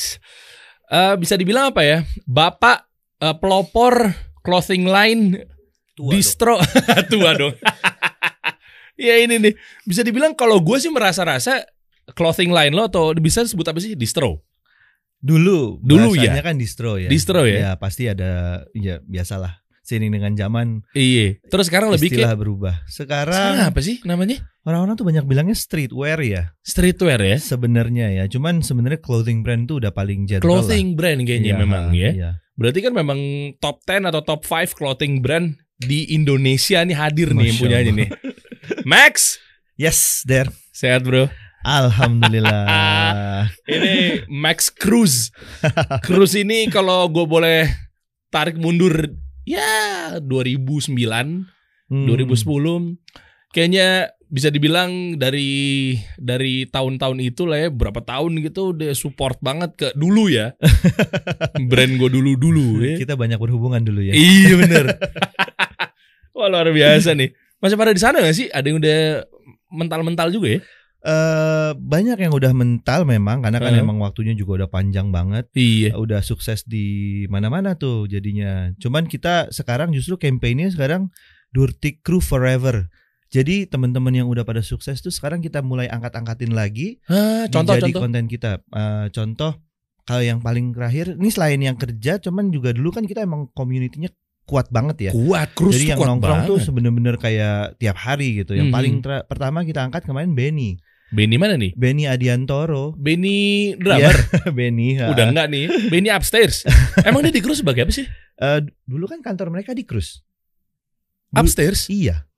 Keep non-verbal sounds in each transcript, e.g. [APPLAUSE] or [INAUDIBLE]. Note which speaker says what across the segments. Speaker 1: Next. Eh, bisa dibilang apa ya? Bapak eh, pelopor clothing line
Speaker 2: Tua
Speaker 1: distro [LAUGHS] tua dong. ya ini nih. Bisa dibilang kalau gue sih merasa-rasa clothing line lo atau bisa sebut apa sih distro?
Speaker 2: Dulu,
Speaker 1: Dulu
Speaker 2: bahasanya kan distro ya.
Speaker 1: Distro ya?
Speaker 2: Ya pasti ada, ya biasalah. Seiring dengan zaman,
Speaker 1: Iya. Terus sekarang lebih
Speaker 2: istilah
Speaker 1: kayak
Speaker 2: berubah. Sekarang
Speaker 1: sekarang apa sih namanya?
Speaker 2: orang-orang tuh banyak bilangnya streetwear ya.
Speaker 1: Streetwear ya.
Speaker 2: Sebenarnya ya, cuman sebenarnya clothing brand tuh udah paling general. lah.
Speaker 1: Clothing brand kayaknya
Speaker 2: Iya,
Speaker 1: memang ya.
Speaker 2: iya.
Speaker 1: Berarti kan memang top 10 atau top 5 clothing brand di Indonesia nih hadir nih yang
Speaker 2: Masya
Speaker 1: punyanya
Speaker 2: Allah.
Speaker 1: nih. Max,
Speaker 2: Yes, there.
Speaker 1: sehat bro.
Speaker 2: Alhamdulillah.
Speaker 1: [LAUGHS] Ini Max Cruz. Cruz ini kalau gue boleh tarik mundur ya 2009,
Speaker 2: Hmm.
Speaker 1: 2010 kayaknya bisa dibilang dari dari tahun-tahun itu lah ya berapa tahun gitu dia support banget ke dulu
Speaker 2: [LAUGHS]
Speaker 1: ya brand gue dulu dulu ya.
Speaker 2: Kita banyak berhubungan dulu ya.
Speaker 1: Iya bener [LAUGHS] Wah luar biasa nih Masih pada di sana gak sih? Ada yang udah mental-mental juga ya?
Speaker 2: Eh, banyak yang udah mental memang karena kan
Speaker 1: Heeh.
Speaker 2: emang waktunya juga udah panjang banget.
Speaker 1: Iya
Speaker 2: Ya Udah sukses di mana-mana tuh jadinya. Cuman kita sekarang justru kampanye sekarang Dirty Crew Forever. Jadi teman-teman yang udah pada sukses tuh sekarang kita mulai angkat-angkatin lagi
Speaker 1: Ah, Eh,
Speaker 2: jadi
Speaker 1: Contoh-contoh
Speaker 2: konten kita. Eh, contoh kalau yang paling terakhir ini selain yang kerja cuman juga dulu kan kita emang community-nya kuat banget ya.
Speaker 1: Kuat, krus
Speaker 2: Jadi yang
Speaker 1: kuat
Speaker 2: nongkrong tuh
Speaker 1: banget
Speaker 2: sebener-bener kayak tiap hari gitu. Yang
Speaker 1: Hmm.
Speaker 2: paling tra- pertama kita angkat kemarin Benny,
Speaker 1: Benny mana nih?
Speaker 2: Benny Adiantoro.
Speaker 1: Benny drummer
Speaker 2: Iya, [LAUGHS] Benny. ha.
Speaker 1: Udah enggak nih Benny
Speaker 2: [LAUGHS]
Speaker 1: upstairs Emang dia di krus sebagai apa sih?
Speaker 2: Eh, dulu kan kantor mereka di Cruise. Du-
Speaker 1: Upstairs?
Speaker 2: Iya.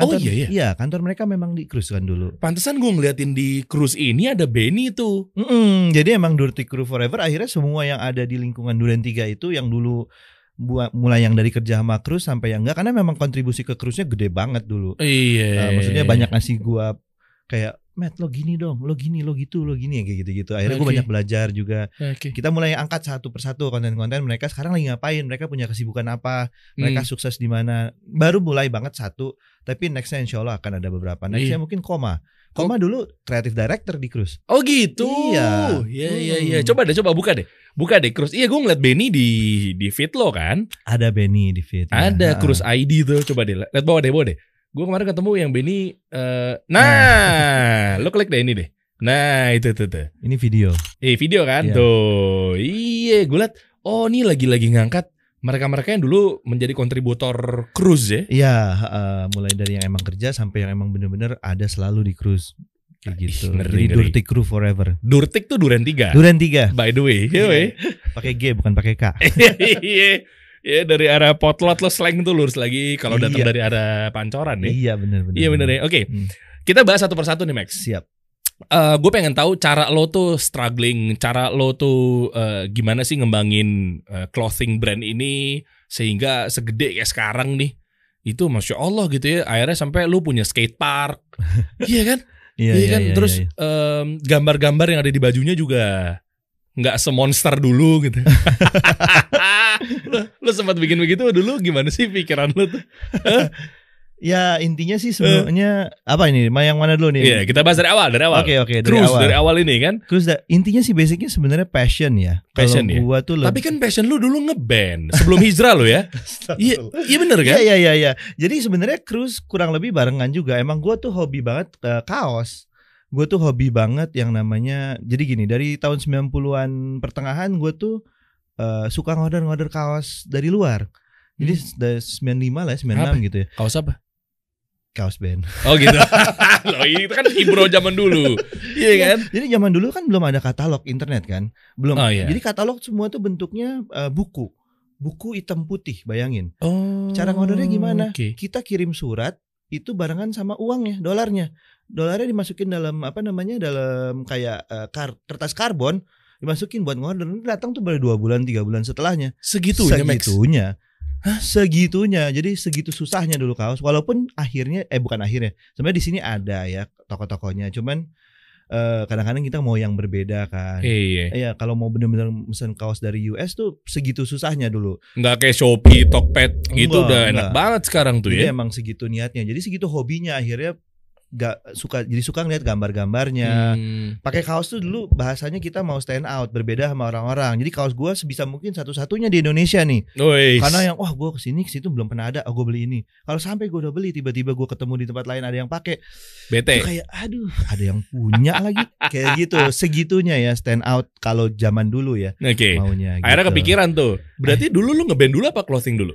Speaker 1: Oh, iya, iya.
Speaker 2: kantor mereka memang di Cruise kan dulu.
Speaker 1: Pantesan gue ngeliatin di krus ini ada Benny tuh
Speaker 2: Mm-mm, jadi emang Dirty Crew Forever akhirnya semua yang ada di lingkungan Duren 3 itu yang dulu buat mulai yang dari kerja sama Cruise sampai yang enggak karena memang kontribusi ke Cruise-nya gede banget dulu.
Speaker 1: Iya
Speaker 2: Eh, maksudnya banyak ngasih gua kayak Matt lo gini dong, lo gini, lo gitu, lo gini ya kayak gitu-gitu. Akhirnya gua
Speaker 1: Oke.
Speaker 2: banyak belajar juga.
Speaker 1: Oke.
Speaker 2: Kita mulai angkat satu persatu konten-konten mereka sekarang lagi ngapain, mereka punya kesibukan apa,
Speaker 1: Hmm.
Speaker 2: mereka sukses di mana. Baru mulai banget satu, tapi nextnya insya Allah akan ada beberapa.
Speaker 1: Iya.
Speaker 2: Nextnya mungkin Koma. Koma dulu kreatif director di Cruise.
Speaker 1: Oh gitu.
Speaker 2: Iya.
Speaker 1: Iya iya iya.
Speaker 2: Hmm.
Speaker 1: Coba deh coba buka deh. Buka deh krus. Iya gue ngeliat Benny di di feed lo kan.
Speaker 2: Ada Benny di Ah, fit.
Speaker 1: Ada Cruise ID tuh coba deh lihat bawah deh bawah deh. Gue kemarin ketemu yang Benny. eh, nah, lo klik deh ini deh. Nah itu tuh tuh.
Speaker 2: Ini video.
Speaker 1: Eh video kan
Speaker 2: Iya.
Speaker 1: tuh. Iya gue liat. Oh ini lagi-lagi ngangkat mereka-mereka yang dulu menjadi kontributor Cruise ya.
Speaker 2: Iya, eh, mulai dari yang emang kerja sampai yang emang bener-bener ada selalu di Cruise. Kayak
Speaker 1: Ih, ngeri,
Speaker 2: gitu. Jadi
Speaker 1: ngeri.
Speaker 2: Dirty Crew Forever.
Speaker 1: Durtik tuh Duren 3
Speaker 2: Duren 3
Speaker 1: By the way, Iya,
Speaker 2: Iya.
Speaker 1: weh.
Speaker 2: pakai G bukan pakai K.
Speaker 1: [LAUGHS] Iya, Iya, dari arah potlot lo slang tuh lurus lagi kalau datang
Speaker 2: Iya.
Speaker 1: dari arah pancoran nih.
Speaker 2: Iya benar-benar.
Speaker 1: Iya bener ya. Oke,
Speaker 2: Hmm.
Speaker 1: kita bahas satu persatu nih Max.
Speaker 2: Siap.
Speaker 1: gue Eh, pengen tahu cara lo tuh struggling, cara lo tuh eh, gimana sih ngembangin eh, clothing brand ini sehingga segede kayak sekarang nih. Itu masya Allah gitu ya. Akhirnya sampai lo punya skate
Speaker 2: [LAUGHS]
Speaker 1: park, iya kan?
Speaker 2: Iya,
Speaker 1: iya
Speaker 2: iya,
Speaker 1: kan.
Speaker 2: iya,
Speaker 1: Terus
Speaker 2: iya.
Speaker 1: em, gambar-gambar yang ada di bajunya juga nggak semonster dulu
Speaker 2: [LAUGHS]
Speaker 1: gitu. lo, lo sempat bikin begitu dulu gimana sih pikiran lo tuh?
Speaker 2: ya intinya sih sebenarnya apa ini? Ma- Yang mana dulu nih?
Speaker 1: Iya, kita bahas dari awal, dari awal.
Speaker 2: Oke oke dari
Speaker 1: Cruise
Speaker 2: awal.
Speaker 1: dari awal ini kan.
Speaker 2: Terus da- intinya sih basicnya sebenarnya passion ya.
Speaker 1: Passion ya.
Speaker 2: Kalau gua tuh
Speaker 1: [LAUGHS] Tapi kan passion lu dulu ngeband sebelum hijrah lo ya. Iya, iya bener
Speaker 2: Iya
Speaker 1: kan?
Speaker 2: iya iya iya. Jadi sebenarnya cruise kurang lebih barengan juga. Emang gua tuh hobi banget eh, kaos. Gue tuh hobi banget yang namanya jadi gini dari tahun 90-an pertengahan gue tuh eh, suka ngorder-ngorder kaos dari luar. Jadi dari 95 lah ya, 96 gitu ya.
Speaker 1: Kaos Hmm. apa?
Speaker 2: Kaos band. [LAUGHS]
Speaker 1: Oh gitu. [LAUGHS] Loh, itu kan ibro zaman dulu. Iya kan?
Speaker 2: Jadi zaman dulu kan belum ada katalog internet kan, belum.
Speaker 1: Oh, iya.
Speaker 2: Jadi katalog semua tuh bentuknya eh, buku, buku hitam putih, bayangin.
Speaker 1: Oh.
Speaker 2: Cara ngordernya gimana?
Speaker 1: Oke.
Speaker 2: Kita kirim surat itu barengan sama uangnya, dolarnya. Dolarnya dimasukin dalam apa namanya dalam kayak eh, kar- kertas karbon dimasukin buat ngorder Nanti datang tuh baru dua bulan tiga bulan setelahnya
Speaker 1: Segitunya, Max.
Speaker 2: segitunya segitunya jadi segitu susahnya dulu kaos walaupun akhirnya eh bukan akhirnya sebenarnya di sini ada ya toko-tokonya cuman eh, kadang-kadang kita mau yang berbeda kan
Speaker 1: Iya.
Speaker 2: Iya, kalau mau bener-bener mesen kaos dari US tuh segitu susahnya dulu.
Speaker 1: Nggak kayak Shopee, Tokped gitu
Speaker 2: Enggak,
Speaker 1: udah enak
Speaker 2: enggak.
Speaker 1: banget sekarang tuh
Speaker 2: Jadi
Speaker 1: ya.
Speaker 2: emang segitu niatnya. Jadi segitu hobinya akhirnya ga- suka jadi suka ngeliat gambar-gambarnya.
Speaker 1: Hmm.
Speaker 2: Pakai kaos tuh dulu bahasanya kita mau stand out, berbeda sama orang-orang. Jadi kaos gua sebisa mungkin satu-satunya di Indonesia nih.
Speaker 1: Wih.
Speaker 2: Karena yang wah gua kesini kesitu belum pernah ada, oh, gue beli ini. Kalau sampai gua udah beli tiba-tiba gua ketemu di tempat lain ada yang pakai,
Speaker 1: bete.
Speaker 2: Itu kayak aduh ada yang punya lagi kayak
Speaker 1: [LAUGHS]
Speaker 2: gitu segitunya ya stand out kalau zaman dulu ya
Speaker 1: Oke.
Speaker 2: maunya gitu.
Speaker 1: Akhirnya kepikiran tuh. Berarti dulu lu ngeband dulu apa clothing dulu?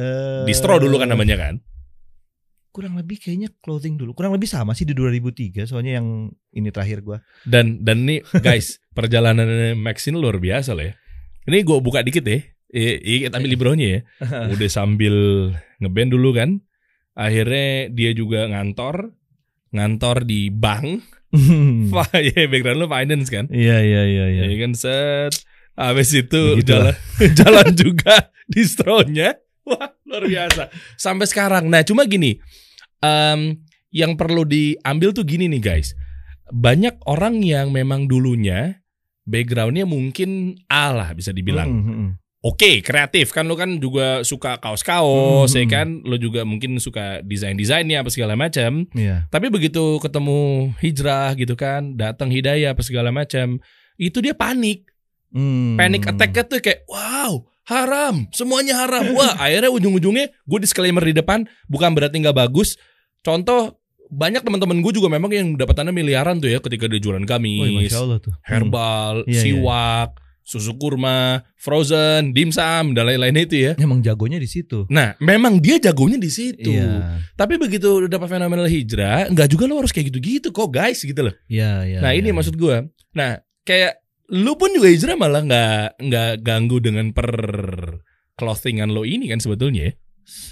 Speaker 2: Eh,
Speaker 1: Distro dulu kan namanya kan?
Speaker 2: kurang lebih kayaknya clothing dulu kurang lebih sama sih di 2003 soalnya yang ini terakhir
Speaker 1: [LAUGHS]
Speaker 2: gua
Speaker 1: Dan dan nih guys, [LAUGHS] perjalanan Max ini luar biasa loh ya. Ini gue buka dikit ya. I- i- Kita ambil libronya ya. Udah sambil ngeband dulu kan. Akhirnya dia juga ngantor. Ngantor di bank. [LAUGHS] Wah, ya background lu finance kan?
Speaker 2: iya iya iya iya Ya gitu
Speaker 1: Ya kan set. Habis itu jalan
Speaker 2: Begitulah.
Speaker 1: [LAUGHS] jalan juga [LAUGHS] distronya. Wah, luar biasa. Sampai sekarang. Nah, cuma gini. em, yang perlu diambil tuh gini nih, guys. Banyak orang yang memang dulunya backgroundnya mungkin A lah bisa dibilang.
Speaker 2: Mm, mm, mm.
Speaker 1: Oke, kreatif kan lo kan juga suka kaos-kaos,
Speaker 2: Hmm.
Speaker 1: ya kan. Lo juga mungkin suka desain-desainnya apa segala macam.
Speaker 2: iya
Speaker 1: Tapi begitu ketemu hijrah gitu kan, datang hidayah apa segala macam, itu dia panik.
Speaker 2: Mm.
Speaker 1: Panic kan? attack-nya tuh kayak wow, haram, semuanya haram.
Speaker 2: [LAUGHS]
Speaker 1: Wah, akhirnya ujung-ujungnya gue disclaimer di depan bukan berarti nggak bagus. Contoh banyak teman-teman gue juga memang yang dapatannya miliaran tuh ya ketika dia jualan
Speaker 2: Woi,
Speaker 1: gamis,
Speaker 2: Oh, iya, masya Allah tuh
Speaker 1: herbal,
Speaker 2: Iya, iya.
Speaker 1: siwak, susu kurma, frozen, dimsum dan lain-lain itu ya.
Speaker 2: Mm. emang jagonya di situ
Speaker 1: Nah, memang dia jagonya di situ.
Speaker 2: iya
Speaker 1: Tapi begitu udah dapat fenomenal hijrah, nggak juga lo harus kayak gitu-gitu kok guys gitu loh.
Speaker 2: iya iya
Speaker 1: nah
Speaker 2: iya,
Speaker 1: ini
Speaker 2: iya.
Speaker 1: maksud gua Nah kayak lu pun juga hijrah malah nggak nggak ganggu dengan per clothingan lo ini kan sebetulnya. ya.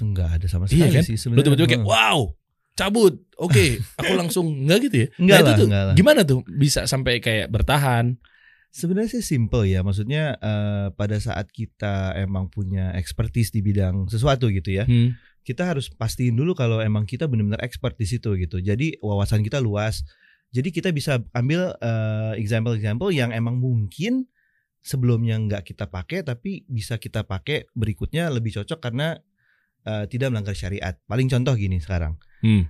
Speaker 2: nggak ada sama sekali
Speaker 1: Iya kan?
Speaker 2: sih
Speaker 1: Lu
Speaker 2: sebenarnya
Speaker 1: tiba-tiba kayak
Speaker 2: Mm.
Speaker 1: wow cabut, oke
Speaker 2: [LAUGHS]
Speaker 1: aku langsung nggak gitu ya.
Speaker 2: Nggak
Speaker 1: nah, itu
Speaker 2: lah,
Speaker 1: tuh
Speaker 2: nggak lah.
Speaker 1: gimana tuh bisa sampai kayak bertahan?
Speaker 2: Sebenarnya sih simple ya, maksudnya eh, pada saat kita emang punya expertise di bidang sesuatu gitu ya,
Speaker 1: Hmm.
Speaker 2: kita harus pastiin dulu kalau emang kita benar-benar expert di situ gitu. Jadi wawasan kita luas, jadi kita bisa ambil eh, example-example yang emang mungkin sebelumnya nggak kita pakai, tapi bisa kita pakai berikutnya lebih cocok karena eh, tidak melanggar syariat. Paling contoh gini sekarang
Speaker 1: Hmm.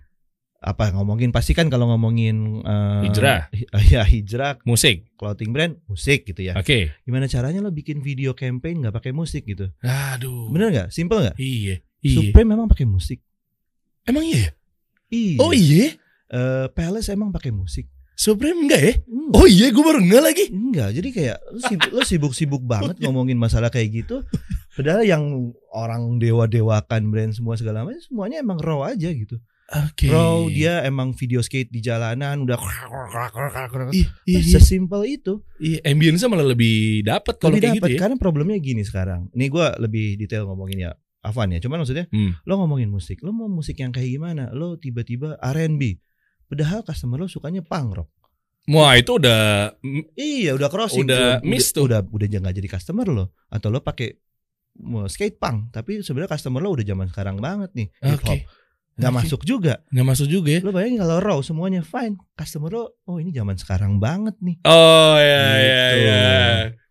Speaker 2: apa ngomongin pasti kan kalau ngomongin eh,
Speaker 1: Hijrah.
Speaker 2: hi- ya hijrah
Speaker 1: Musik,
Speaker 2: clothing brand musik gitu ya
Speaker 1: oke.
Speaker 2: gimana caranya lo bikin video campaign nggak pakai musik gitu
Speaker 1: Aduh.
Speaker 2: bener nggak simple nggak
Speaker 1: Iya. Iya.
Speaker 2: Supreme memang pakai musik
Speaker 1: Emang iya? ya?
Speaker 2: iya
Speaker 1: Oh iya.
Speaker 2: Eh, Palace emang pakai musik
Speaker 1: Supreme enggak ya?
Speaker 2: Hmm,
Speaker 1: Oh iya, gue baru enggak lagi.
Speaker 2: enggak jadi kayak lo sibuk lo sibuk-sibuk
Speaker 1: [LAUGHS]
Speaker 2: banget ngomongin masalah kayak gitu padahal yang orang dewa dewakan brand semua segala macam semuanya emang raw aja gitu
Speaker 1: Oke.
Speaker 2: raw dia emang video skate di jalanan udah
Speaker 1: Ih, iya, iya.
Speaker 2: sesimpel itu
Speaker 1: Iya, ambience malah lebih dapat kalau
Speaker 2: Lebih
Speaker 1: kayak
Speaker 2: dapat
Speaker 1: gitu ya.
Speaker 2: karena problemnya gini sekarang. Ini gua lebih detail ngomongin ya. Afan ya. Cuman maksudnya
Speaker 1: Hmm.
Speaker 2: lo ngomongin musik, lo mau musik yang kayak gimana? Lo tiba-tiba R&B. Padahal customer lo sukanya punk rock.
Speaker 1: Wah, itu udah mm,
Speaker 2: Iya, udah crossing.
Speaker 1: Udah miss tuh.
Speaker 2: Udah udah jangan jadi customer lo atau lo pakai mau skate punk, tapi sebenarnya customer lo udah zaman sekarang banget nih.
Speaker 1: oke.
Speaker 2: Hip hop. Nggak
Speaker 1: Oke.
Speaker 2: masuk juga.
Speaker 1: Nggak masuk juga ya.
Speaker 2: Lo bayangin kalau raw semuanya fine, customer lo oh ini zaman sekarang banget nih.
Speaker 1: Oh ya ya
Speaker 2: Gitu.
Speaker 1: ya.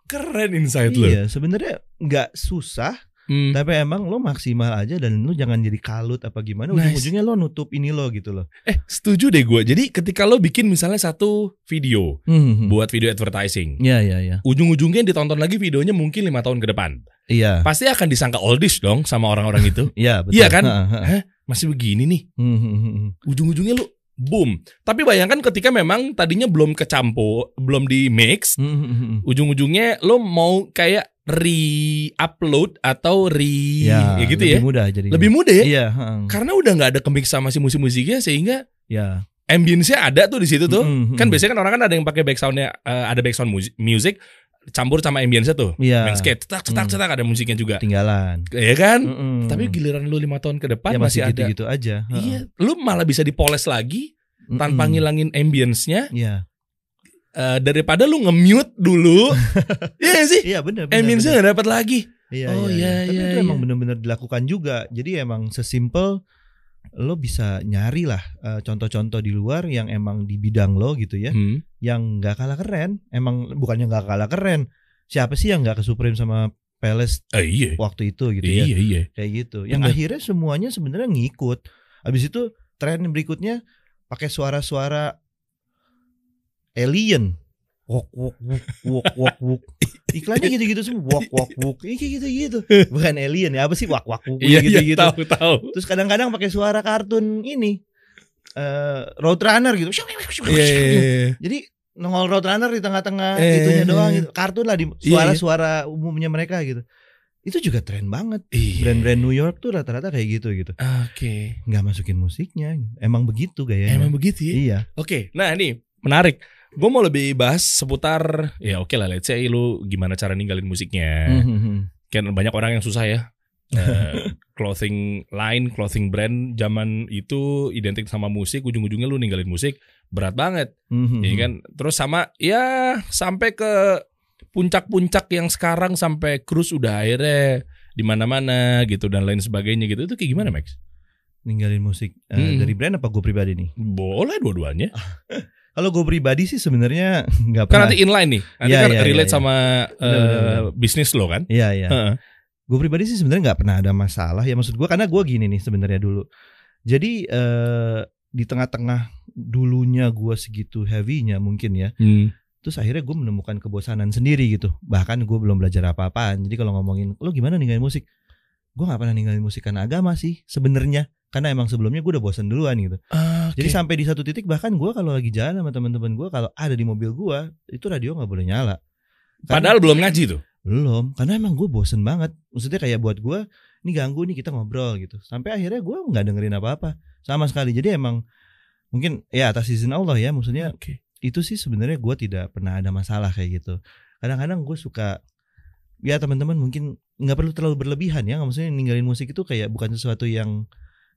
Speaker 1: Keren insight lo.
Speaker 2: Iya, sebenarnya nggak susah
Speaker 1: Hmm.
Speaker 2: Tapi emang lo maksimal aja dan lo jangan jadi kalut apa gimana.
Speaker 1: Nice.
Speaker 2: Ujung-ujungnya lo nutup ini lo gitu loh.
Speaker 1: Eh, setuju deh gue. Jadi ketika lo bikin misalnya satu video
Speaker 2: Bu-
Speaker 1: buat video advertising,
Speaker 2: Iya iya iya.
Speaker 1: ujung-ujungnya yang ditonton lagi videonya mungkin lima tahun ke depan.
Speaker 2: Iya.
Speaker 1: Pasti akan disangka oldies dong sama orang-orang [LAUGHS] itu.
Speaker 2: Iya betul.
Speaker 1: Iya kan?
Speaker 2: Ha, ha.
Speaker 1: Masih begini nih.
Speaker 2: Hmm, hmm, hmm, hmm.
Speaker 1: Ujung-ujungnya lo boom. Tapi bayangkan ketika memang tadinya belum kecampur, belum di mix,
Speaker 2: Hmm, hmm, hmm, hmm.
Speaker 1: ujung-ujungnya lo mau kayak re-upload atau re ya gitu ya.
Speaker 2: lebih mudah jadi.
Speaker 1: Lebih mudah ya.
Speaker 2: Iya. ha, ha.
Speaker 1: Karena udah nggak ada kemix sama si musik-musiknya sehingga
Speaker 2: Iya.
Speaker 1: ambience-nya ada tuh di situ tuh.
Speaker 2: Hmm, hmm, hmm.
Speaker 1: Kan biasanya kan orang kan ada yang pakai backsoundnya eh, ada backsound mus- music campur sama ambience tuh.
Speaker 2: Iya.
Speaker 1: Main skate, cetak cetak
Speaker 2: Hmm.
Speaker 1: cetak ada musiknya juga.
Speaker 2: Ketinggalan.
Speaker 1: Ya kan?
Speaker 2: Hmm, hmm.
Speaker 1: Tapi giliran lu lima tahun ke depan
Speaker 2: ya,
Speaker 1: masih,
Speaker 2: masih
Speaker 1: ada.
Speaker 2: gitu-gitu aja. Ha, ha.
Speaker 1: Iya, lu malah bisa dipoles lagi
Speaker 2: Hmm,
Speaker 1: tanpa
Speaker 2: hmm.
Speaker 1: ngilangin ambience-nya
Speaker 2: Iya.
Speaker 1: eh, daripada lu nge-mute
Speaker 2: [LAUGHS]
Speaker 1: dulu. Iya nggak sih?
Speaker 2: Iya benar. benar,
Speaker 1: Ambience-nya
Speaker 2: benar.
Speaker 1: nggak dapat lagi.
Speaker 2: Iya,
Speaker 1: Oh, iya,
Speaker 2: iya, Tapi
Speaker 1: iya,
Speaker 2: itu
Speaker 1: iya.
Speaker 2: emang benar-benar dilakukan juga. Jadi emang sesimpel lo bisa nyari lah eh, contoh-contoh di luar yang emang di bidang lo gitu ya.
Speaker 1: Hmm.
Speaker 2: yang nggak kalah keren emang bukannya nggak kalah keren siapa sih yang nggak ke Supreme sama Palace
Speaker 1: Eh, iya.
Speaker 2: waktu itu gitu ya
Speaker 1: Iya iya.
Speaker 2: kayak gitu yang
Speaker 1: Bener.
Speaker 2: akhirnya semuanya sebenarnya ngikut abis itu tren berikutnya pakai suara-suara alien wok wok wok wok wok
Speaker 1: [LAUGHS]
Speaker 2: wok iklannya gitu-gitu semua wok wok wok ini kayak gitu-gitu bukan alien ya apa sih wok wok wok
Speaker 1: Iya, iya,
Speaker 2: gitu-gitu
Speaker 1: tahu, tahu.
Speaker 2: terus kadang-kadang pakai suara kartun ini eh road runner gitu
Speaker 1: Iya, iya, iya.
Speaker 2: jadi nongol Roadrunner di tengah-tengah
Speaker 1: Eh,
Speaker 2: itunya
Speaker 1: eh,
Speaker 2: doang
Speaker 1: eh.
Speaker 2: gitu. Kartun lah di suara-suara umumnya mereka gitu. Itu juga tren banget.
Speaker 1: Iya.
Speaker 2: Brand-brand New York tuh rata-rata kayak gitu gitu.
Speaker 1: Oke.
Speaker 2: nggak masukin musiknya. Emang begitu gayanya.
Speaker 1: Emang begitu ya?
Speaker 2: Iya.
Speaker 1: Oke, nah ini menarik. Gue mau lebih bahas seputar ya oke lah, let's say lu gimana cara ninggalin musiknya.
Speaker 2: Mhm.
Speaker 1: Kan banyak orang yang
Speaker 2: [LAUGHS]
Speaker 1: susah ya. Eh, clothing line, clothing brand zaman itu identik sama musik, ujung-ujungnya lu ninggalin musik berat banget,
Speaker 2: Mhm.
Speaker 1: ya kan? Terus sama ya sampai ke puncak-puncak yang sekarang sampai cruise udah akhirnya di mana-mana gitu dan lain sebagainya gitu itu kayak gimana Max?
Speaker 2: Ninggalin musik Eh,
Speaker 1: Mhm.
Speaker 2: dari brand apa gue pribadi nih?
Speaker 1: Boleh dua-duanya.
Speaker 2: Kalau gue pribadi sih sebenarnya [LAUGHS]
Speaker 1: Kan
Speaker 2: nggak pernah.
Speaker 1: nanti inline nih. Nanti
Speaker 2: Iya,
Speaker 1: kan
Speaker 2: iya,
Speaker 1: relate
Speaker 2: iya, iya.
Speaker 1: sama eh,
Speaker 2: Bener, bener, bener.
Speaker 1: bisnis lo kan.
Speaker 2: Iya iya.
Speaker 1: Heeh.
Speaker 2: Gue pribadi sih sebenarnya nggak pernah ada masalah ya maksud gue karena gue gini nih sebenarnya dulu. Jadi eh di tengah-tengah dulunya gue segitu heavy-nya mungkin ya. terus akhirnya gue menemukan kebosanan sendiri gitu bahkan gue belum belajar apa-apaan jadi kalau ngomongin lo gimana ninggalin musik gue nggak pernah ninggalin musik karena agama sih sebenarnya karena emang sebelumnya gue udah bosan duluan gitu jadi
Speaker 1: Jadi
Speaker 2: sampai di satu titik bahkan gue kalau lagi jalan sama teman-teman gue kalau ada di mobil gue itu radio nggak boleh nyala Karena-
Speaker 1: padahal belum ngaji tuh.
Speaker 2: belum karena emang gue bosen banget maksudnya kayak buat gue ini ganggu nih kita ngobrol gitu sampai akhirnya gue nggak dengerin apa-apa sama sekali jadi emang mungkin ya atas izin Allah ya maksudnya
Speaker 1: Oke.
Speaker 2: itu sih sebenarnya gue tidak pernah ada masalah kayak gitu kadang-kadang gue suka ya teman-teman mungkin nggak perlu terlalu berlebihan ya maksudnya ninggalin musik itu kayak bukan sesuatu yang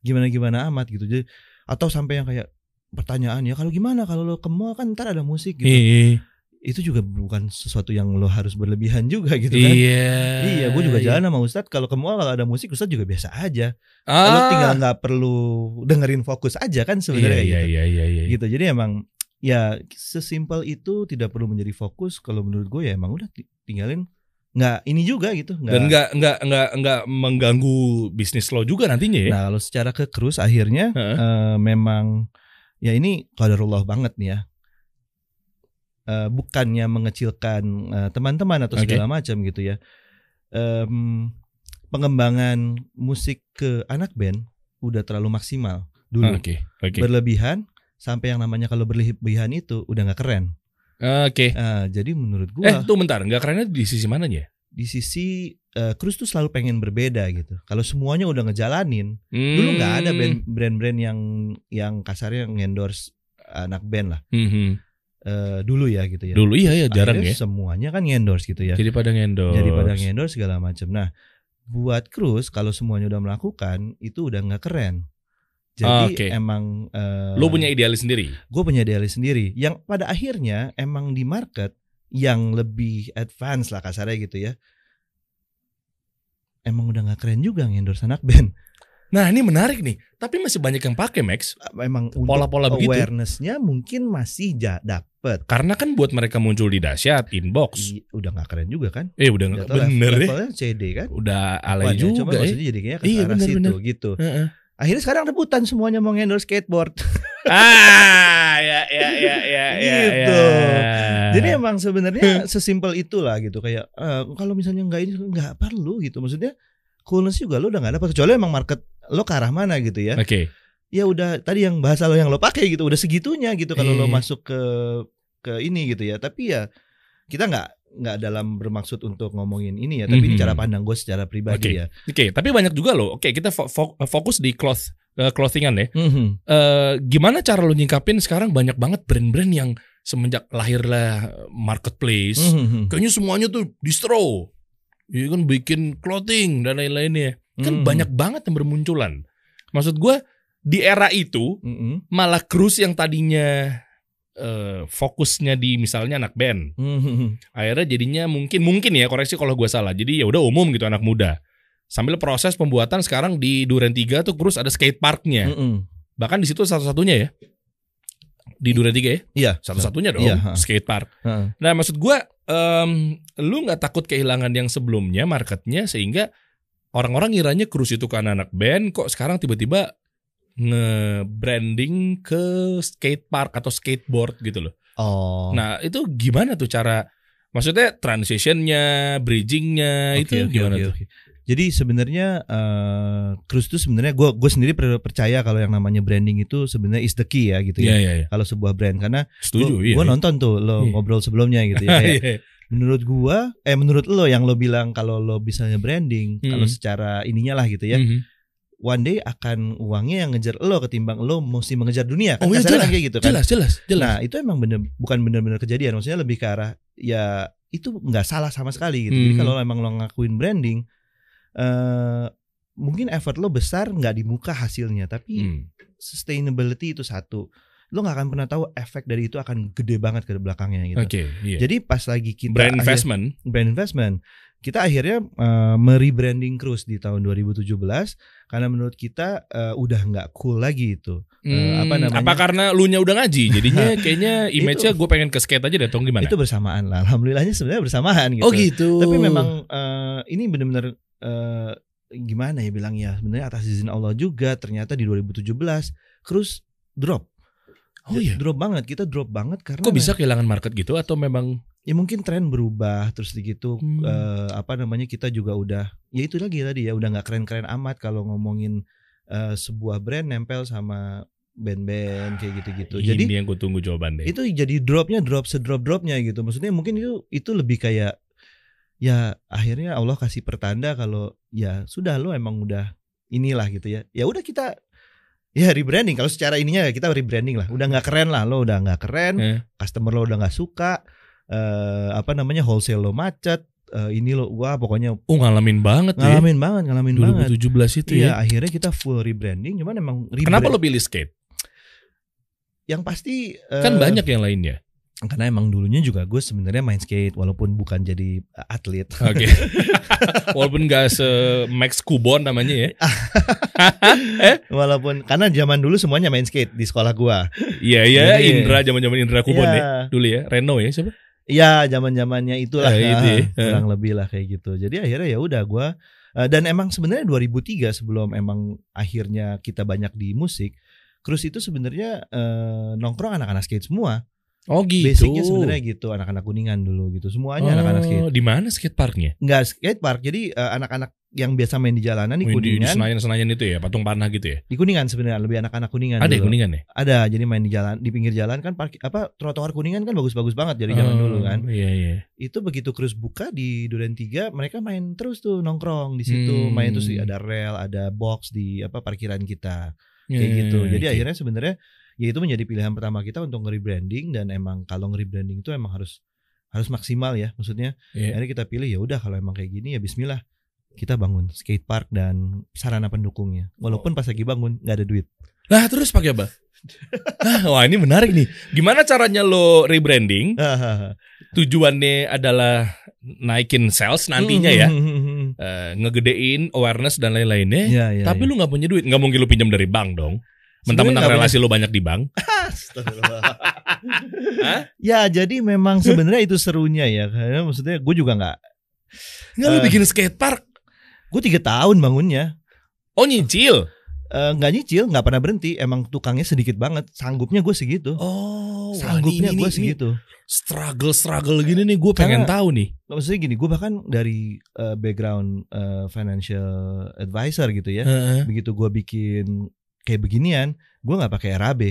Speaker 2: gimana-gimana amat gitu jadi atau sampai yang kayak pertanyaan ya kalau gimana kalau lo ke mall kan ntar ada musik gitu
Speaker 1: Iya.
Speaker 2: itu juga bukan sesuatu yang lo harus berlebihan juga [LAUGHS] gitu kan
Speaker 1: Iya.
Speaker 2: Iya, gue juga jalan sama Ustadz. Kalau ke mall kalau ada musik Ustadz juga biasa aja.
Speaker 1: Ah.
Speaker 2: Lo tinggal nggak perlu dengerin fokus aja kan sebenarnya kayak
Speaker 1: iya,
Speaker 2: gitu
Speaker 1: iya, iya, iya, iya.
Speaker 2: gitu jadi emang ya sesimpel itu tidak perlu menjadi fokus kalau menurut gue ya emang udah ti- tinggalin nggak ini juga gitu nggak
Speaker 1: Dan nggak nggak nggak nggak mengganggu bisnis lo juga nantinya ya.
Speaker 2: nah kalau secara ke cruise akhirnya
Speaker 1: Heeh.
Speaker 2: eh, memang ya ini kaderullah banget nih ya Eh, bukannya mengecilkan eh, teman-teman atau
Speaker 1: Oke.
Speaker 2: segala macam gitu ya Em, pengembangan musik ke anak band udah terlalu maksimal
Speaker 1: Ah,
Speaker 2: dulu
Speaker 1: Oke. Oke.
Speaker 2: berlebihan sampai yang namanya kalau berlebihan itu udah nggak keren
Speaker 1: Oke.
Speaker 2: Ah, jadi
Speaker 1: Eh,
Speaker 2: menurut gua
Speaker 1: tuh bentar, nggak kerennya di sisi mananya?
Speaker 2: di sisi eh, Cruz tuh selalu pengen berbeda gitu. Kalau semuanya udah ngejalanin,
Speaker 1: Hmm.
Speaker 2: dulu nggak ada
Speaker 1: band.
Speaker 2: band- brand-brand yang yang kasarnya ngendorse anak band lah. Eh, dulu ya gitu ya.
Speaker 1: Hmm, Dulu iya ya jarang
Speaker 2: Akhirnya
Speaker 1: ya.
Speaker 2: Semuanya kan ngendorse gitu ya.
Speaker 1: Jadi pada endorse.
Speaker 2: Jadi pada ngendorse segala macam. Nah, buat Cruz kalau semuanya udah melakukan itu udah nggak keren.
Speaker 1: Ah,
Speaker 2: Jadi
Speaker 1: oke.
Speaker 2: emang eh,
Speaker 1: Lo punya idealis sendiri.
Speaker 2: gue punya idealis sendiri yang pada akhirnya emang di market yang lebih advance lah kasarnya gitu ya emang udah nggak keren juga ngendorse anak band
Speaker 1: Nah, ini menarik nih. Tapi masih banyak yang pakai Max.
Speaker 2: [LAUGHS] emang untuk
Speaker 1: Pola-pola begitu.
Speaker 2: awarenessnya mungkin masih ja dapet
Speaker 1: Karena kan buat mereka muncul di dahsyat, inbox.
Speaker 2: I- udah nggak keren juga kan
Speaker 1: Eh udah nggak
Speaker 2: Udah tau lah,
Speaker 1: bener ya.
Speaker 2: levelnya CD kan
Speaker 1: Udah
Speaker 2: Wah,
Speaker 1: alay
Speaker 2: ya,
Speaker 1: juga
Speaker 2: cuma
Speaker 1: ya.
Speaker 2: maksudnya jadi kayaknya ke
Speaker 1: Iya,
Speaker 2: arah
Speaker 1: bener,
Speaker 2: situ
Speaker 1: bener.
Speaker 2: gitu
Speaker 1: Heeh.
Speaker 2: akhirnya sekarang rebutan semuanya mau ngendorse skateboard
Speaker 1: ah ya ya ya ya ya.
Speaker 2: Gitu.
Speaker 1: ya.
Speaker 2: Jadi emang
Speaker 1: [LAUGHS]
Speaker 2: sebenarnya sesimpel itulah gitu kayak eh, kalau misalnya nggak ini nggak perlu gitu maksudnya coolness juga lo udah nggak dapat kecuali emang market lo ke arah mana gitu ya
Speaker 1: Oke.
Speaker 2: ya udah tadi yang bahasa lo yang lo pakai gitu udah segitunya gitu kalau
Speaker 1: Iya.
Speaker 2: lo masuk ke ke ini gitu ya tapi ya kita nggak nggak dalam bermaksud untuk ngomongin ini ya tapi ini
Speaker 1: Mhm.
Speaker 2: cara pandang gue secara pribadi ya
Speaker 1: Oke, tapi banyak juga loh. Oke, kita fo- fo- fokus di cloth eh, clothingan ya.
Speaker 2: Mhm.
Speaker 1: Eh, gimana cara lo nyingkapin sekarang banyak banget brand-brand yang semenjak lahirlah marketplace.
Speaker 2: Mhm.
Speaker 1: Kayaknya semuanya tuh distro. Ya kan bikin clothing dan lain-lainnya. Kan
Speaker 2: Mhm.
Speaker 1: banyak banget yang bermunculan. Maksud gua di era itu
Speaker 2: Mhm.
Speaker 1: malah cruise yang tadinya eh, fokusnya di misalnya anak band
Speaker 2: Mhm.
Speaker 1: akhirnya jadinya mungkin mungkin ya koreksi kalau gue salah jadi ya udah umum gitu anak muda sambil proses pembuatan sekarang di Duren 3 tuh cruise ada skate parknya
Speaker 2: Mhm.
Speaker 1: bahkan di situ satu-satunya ya di Duren 3 ya
Speaker 2: Iya
Speaker 1: satu-satunya dong
Speaker 2: Iya, ha.
Speaker 1: skate park
Speaker 2: Heeh.
Speaker 1: nah maksud gue em, lu nggak takut kehilangan yang sebelumnya marketnya sehingga orang-orang ngiranya cruise itu karena anak band kok sekarang tiba-tiba nge-branding ke skatepark atau skateboard gitu loh.
Speaker 2: Oh.
Speaker 1: Nah itu gimana tuh cara, maksudnya transitionnya, bridgingnya
Speaker 2: Oke,
Speaker 1: itu
Speaker 2: oke,
Speaker 1: gimana
Speaker 2: oke,
Speaker 1: tuh?
Speaker 2: oke. Jadi sebenarnya eh Cruise tuh sebenarnya gue gue sendiri per- percaya kalau yang namanya branding itu sebenarnya is the key ya gitu
Speaker 1: Iya
Speaker 2: ya.
Speaker 1: iya iya.
Speaker 2: Kalau sebuah brand karena
Speaker 1: Setuju.
Speaker 2: gue
Speaker 1: iya, iya.
Speaker 2: nonton tuh lo
Speaker 1: Iya.
Speaker 2: ngobrol sebelumnya
Speaker 1: [LAUGHS]
Speaker 2: gitu ya. Kayak,
Speaker 1: Iya.
Speaker 2: menurut gue, eh menurut lo yang lo bilang kalau lo misalnya branding
Speaker 1: Mm.
Speaker 2: kalau secara ininya lah gitu ya,
Speaker 1: Mhm.
Speaker 2: one day akan uangnya yang ngejar lo ketimbang lo mesti mengejar dunia. Kan
Speaker 1: Oh, iya,
Speaker 2: kasarnya kan kayak gitu kan.
Speaker 1: Jelas jelas jelas.
Speaker 2: Nah itu emang bener bukan bener-bener kejadian maksudnya lebih ke arah ya itu nggak salah sama sekali gitu. Jadi
Speaker 1: Mhm.
Speaker 2: kalau emang lo ngakuin branding eh mungkin effort lo besar nggak dibuka hasilnya tapi
Speaker 1: Hmm.
Speaker 2: sustainability itu satu lo nggak akan pernah tahu efek dari itu akan gede banget ke belakangnya gitu.
Speaker 1: Oke. iya.
Speaker 2: Jadi pas lagi kita
Speaker 1: Brand
Speaker 2: akhir-
Speaker 1: investment.
Speaker 2: brand investment. Kita akhirnya eh, merebranding Cruise di tahun 2017 karena menurut kita eh, udah nggak cool lagi itu. Eh, apa
Speaker 1: Hmm, apa
Speaker 2: namanya?
Speaker 1: Apa karena lu nya udah ngaji?
Speaker 2: [LAUGHS]
Speaker 1: Jadinya kayaknya image-nya gue pengen ke skate aja deh, tong gimana?
Speaker 2: Itu bersamaan lah. Alhamdulillahnya sebenarnya bersamaan gitu.
Speaker 1: Oh gitu.
Speaker 2: Tapi memang eh, ini benar-benar eh, gimana ya bilangnya? Sebenarnya atas izin Allah juga ternyata di 2017 Cruise drop.
Speaker 1: Oh iya.
Speaker 2: Drop banget. Kita drop banget karena
Speaker 1: Kok bisa kehilangan market gitu atau memang
Speaker 2: ya mungkin tren berubah terus begitu
Speaker 1: Hmm.
Speaker 2: eh, apa namanya kita juga udah ya itu lagi tadi ya udah nggak keren-keren amat kalau ngomongin eh, sebuah brand nempel sama band-band kayak gitu-gitu.
Speaker 1: jadi
Speaker 2: Jadi
Speaker 1: ini Iya, yang gue tunggu jawaban deh.
Speaker 2: itu jadi dropnya drop sedrop dropnya gitu. Maksudnya mungkin itu itu lebih kayak ya akhirnya Allah kasih pertanda kalau ya sudah lo emang udah inilah gitu ya. Ya udah kita ya rebranding kalau secara ininya ya kita rebranding lah. Udah nggak keren lah lo udah nggak keren
Speaker 1: Eh.
Speaker 2: customer lo udah nggak suka eh apa namanya wholesale lo macet eh, ini lo wah pokoknya
Speaker 1: oh ngalamin banget tuh
Speaker 2: ngalamin banget ngalamin banget
Speaker 1: ya. 2017 itu
Speaker 2: iya
Speaker 1: ya.
Speaker 2: akhirnya kita full rebranding cuman emang
Speaker 1: Kenapa lo pilih skate?
Speaker 2: yang pasti
Speaker 1: Kan
Speaker 2: eh,
Speaker 1: banyak yang
Speaker 2: [LAUGHS]
Speaker 1: lainnya.
Speaker 2: karena emang dulunya juga gue sebenarnya main skate walaupun bukan jadi eh, atlet
Speaker 1: Oke. [LAUGHS] Walaupun gak se Max Kubon namanya ya.
Speaker 2: [LAUGHS] Ah. walaupun karena zaman dulu semuanya main skate di sekolah gue
Speaker 1: Iya iya
Speaker 2: Jadi-
Speaker 1: Indra zaman-zaman Indra Kubon ya.
Speaker 2: Iya.
Speaker 1: Dulu ya, Reno ya siapa?
Speaker 2: Iya, zaman zamannya itulah
Speaker 1: Eh,
Speaker 2: ya,
Speaker 1: itu ya.
Speaker 2: kurang lebih lah kayak gitu. Jadi akhirnya ya udah gue dan emang sebenarnya 2003 sebelum emang akhirnya kita banyak di musik, Cruise itu sebenarnya eh, nongkrong anak-anak skate semua.
Speaker 1: Oh gitu.
Speaker 2: Basicnya sebenarnya gitu, anak-anak kuningan dulu gitu. Semuanya anak-anak skate.
Speaker 1: Oh, di mana skate parknya?
Speaker 2: Enggak skate park, jadi eh, anak-anak yang biasa main di jalanan di
Speaker 1: Di, Oh, di
Speaker 2: kuningan, di,
Speaker 1: Senayan Senayan itu ya, patung panah gitu ya.
Speaker 2: kuningan sebenarnya lebih anak-anak kuningan
Speaker 1: Ada ya
Speaker 2: dulu.
Speaker 1: kuningan ya?
Speaker 2: Ada, jadi main di jalan, di pinggir jalan kan park, apa trotoar kuningan kan bagus-bagus banget dari zaman
Speaker 1: Oh,
Speaker 2: dulu kan.
Speaker 1: Iya iya.
Speaker 2: itu begitu cruise buka di Duren 3 mereka main terus tuh nongkrong di
Speaker 1: Hmm.
Speaker 2: situ main terus ada rel ada box di apa parkiran kita kayak
Speaker 1: Iya,
Speaker 2: gitu
Speaker 1: iya,
Speaker 2: jadi
Speaker 1: iya.
Speaker 2: akhirnya sebenarnya ya itu menjadi pilihan pertama kita untuk nge-rebranding dan emang kalau nge-rebranding itu emang harus harus maksimal ya maksudnya
Speaker 1: Iya.
Speaker 2: akhirnya kita pilih ya udah kalau emang kayak gini ya bismillah kita bangun skate park dan sarana pendukungnya
Speaker 1: Oh.
Speaker 2: walaupun pas lagi bangun nggak ada duit
Speaker 1: Lah terus pakai
Speaker 2: [LAUGHS]
Speaker 1: apa? Hah, Wah ini menarik nih. Gimana caranya lo rebranding? Tujuannya adalah naikin
Speaker 2: [LAUGHS]
Speaker 1: sales nantinya
Speaker 2: Mm-hmm.
Speaker 1: ya, Eh, ngegedein awareness dan lain-lainnya.
Speaker 2: ya, ya
Speaker 1: Tapi
Speaker 2: ya.
Speaker 1: lu nggak punya duit, nggak mungkin lu pinjam dari bank dong. Mentang-mentang
Speaker 2: Sebenarnya nggak
Speaker 1: relasi lu banyak di
Speaker 2: [LAUGHS]
Speaker 1: bank. [LAUGHS]
Speaker 2: Astagfirullah.
Speaker 1: Hah?
Speaker 2: ya jadi memang sebenarnya itu serunya ya karena maksudnya gue juga nggak
Speaker 1: Nggak lu
Speaker 2: Eh.
Speaker 1: bikin skatepark?
Speaker 2: gue tiga tahun bangunnya
Speaker 1: Oh nyicil.
Speaker 2: Eh, nggak nyicil nggak pernah berhenti emang tukangnya sedikit banget sanggupnya gue segitu
Speaker 1: Oh,
Speaker 2: sanggupnya gue segitu
Speaker 1: Struggle struggle gini nih, gue pengen
Speaker 2: Karena-
Speaker 1: tahu nih.
Speaker 2: Nggak, maksudnya gini gue bahkan dari eh, background eh, financial advisor gitu ya
Speaker 1: Heeh.
Speaker 2: begitu gue bikin kayak beginian gue nggak pakai RAB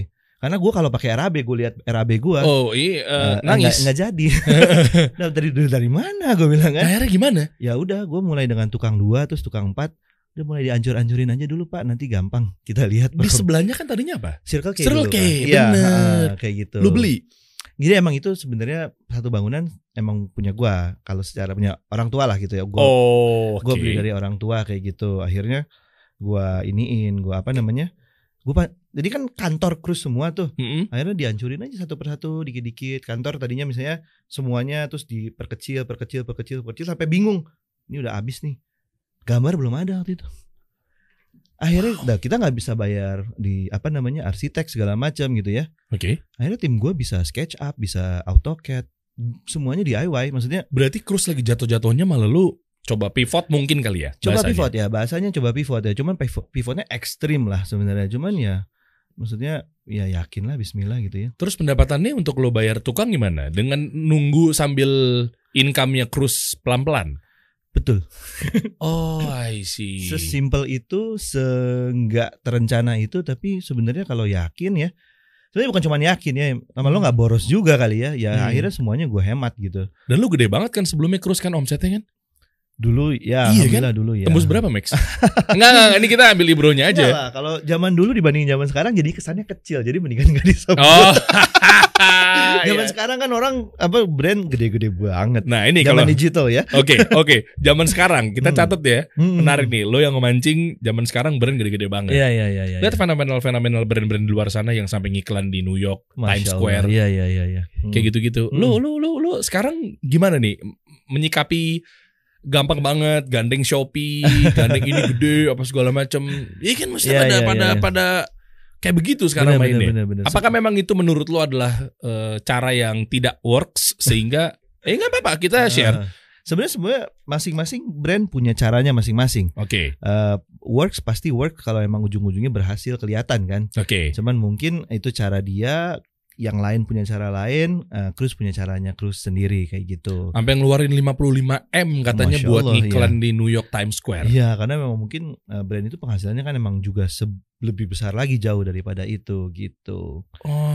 Speaker 2: karena gue kalau pakai RAB gue lihat RAB gue
Speaker 1: Oh iya, eh,
Speaker 2: eh,
Speaker 1: nangis.
Speaker 2: nggak nggak
Speaker 1: [LAUGHS]
Speaker 2: jadi Nah, dari dari mana gue bilang kan
Speaker 1: Akhirnya gimana?
Speaker 2: ya udah gue mulai dengan tukang dua terus tukang empat udah mulai diancur-ancurin aja dulu pak nanti gampang kita lihat
Speaker 1: Di
Speaker 2: [LAUGHS] Pak."
Speaker 1: sebelahnya kan tadinya apa?
Speaker 2: Circle K
Speaker 1: Circle
Speaker 2: dulu,
Speaker 1: K,
Speaker 2: Pak. Iya,
Speaker 1: bener.
Speaker 2: ha, kayak gitu
Speaker 1: Lu beli?
Speaker 2: jadi emang itu sebenarnya satu bangunan emang punya gua kalau secara punya orang tua lah gitu ya gua
Speaker 1: Oh,
Speaker 2: gua
Speaker 1: oke.
Speaker 2: beli dari orang tua kayak gitu akhirnya gua iniin gua apa namanya gua pa- jadi kan kantor cruise semua tuh
Speaker 1: Mm-mm.
Speaker 2: akhirnya dihancurin aja satu persatu dikit-dikit kantor tadinya misalnya semuanya terus diperkecil perkecil perkecil perkecil sampai bingung ini udah habis nih gambar belum ada waktu itu akhirnya dah, kita nggak bisa bayar di apa namanya arsitek segala macam gitu ya
Speaker 1: Oke.
Speaker 2: akhirnya tim gue bisa SketchUp bisa AutoCAD semuanya DIY maksudnya
Speaker 1: Berarti Cruz lagi jatuh-jatuhnya malah lu Coba pivot mungkin kali ya.
Speaker 2: Coba
Speaker 1: bahasanya.
Speaker 2: pivot ya, bahasanya coba pivot ya. Cuman pivo- pivotnya ekstrim lah sebenarnya. Cuman ya maksudnya ya yakin lah bismillah gitu ya.
Speaker 1: Terus pendapatannya untuk lo bayar tukang gimana? Dengan nunggu sambil income-nya cruise pelan-pelan.
Speaker 2: Betul.
Speaker 1: Oh, I see.
Speaker 2: Sesimpel itu, seenggak terencana itu tapi sebenarnya kalau yakin ya Sebenarnya bukan cuma yakin ya, sama lo nggak boros juga kali ya. Ya
Speaker 1: Hmm.
Speaker 2: akhirnya semuanya gue hemat gitu.
Speaker 1: Dan lu gede banget kan sebelumnya cruise kan omsetnya kan?
Speaker 2: Dulu ya,
Speaker 1: Iya
Speaker 2: alhamdulillah dulu ya.
Speaker 1: Tembus berapa,
Speaker 2: [LAUGHS]
Speaker 1: Max? enggak, enggak, enggak, ini kita ambil ibronya aja.
Speaker 2: Enggak lah, kalau zaman dulu dibanding zaman sekarang jadi kesannya kecil. Jadi mendingan nggak disebut. [LAUGHS]
Speaker 1: Oh. [LAUGHS]
Speaker 2: zaman
Speaker 1: Iya.
Speaker 2: sekarang kan orang apa brand gede-gede banget.
Speaker 1: Nah, ini
Speaker 2: zaman
Speaker 1: kalau Oke,
Speaker 2: digital ya.
Speaker 1: oke. Zaman sekarang kita
Speaker 2: Hmm.
Speaker 1: catat ya.
Speaker 2: Hmm.
Speaker 1: Menarik nih, lo yang memancing zaman sekarang brand gede-gede banget.
Speaker 2: Iya iya iya iya.
Speaker 1: Lihat fenomenal-fenomenal brand-brand di luar sana yang sampai ngiklan di New York, Times Square,
Speaker 2: Iya iya iya iya.
Speaker 1: kayak gitu gitu-gitu.
Speaker 2: Hmm.
Speaker 1: Lu lu lu lu sekarang gimana nih menyikapi gampang banget gandeng
Speaker 2: [LAUGHS]
Speaker 1: Shopee, gandeng ini gede apa segala macem Ya kan mesti
Speaker 2: Iya,
Speaker 1: ada
Speaker 2: iya,
Speaker 1: pada
Speaker 2: iya.
Speaker 1: pada kayak begitu sekarang mainnya. Apakah
Speaker 2: memang
Speaker 1: memang itu menurut lo adalah eh, cara yang tidak works sehingga [LAUGHS] eh nggak apa-apa
Speaker 2: Ah.
Speaker 1: kita share.
Speaker 2: Sebenarnya semua masing-masing brand punya caranya masing-masing.
Speaker 1: Oke,
Speaker 2: Eh, works pasti work kalau emang ujung-ujungnya berhasil kelihatan kan.
Speaker 1: oke.
Speaker 2: Cuman mungkin itu cara dia, yang lain punya cara lain, eh, Cruise punya caranya Cruise sendiri kayak gitu.
Speaker 1: Sampai ngeluarin 55M katanya
Speaker 2: Masya
Speaker 1: buat
Speaker 2: Allah,
Speaker 1: iklan di New York Times Square.
Speaker 2: Iya, karena memang mungkin eh, brand itu penghasilannya kan emang juga se- lebih besar lagi jauh daripada itu gitu.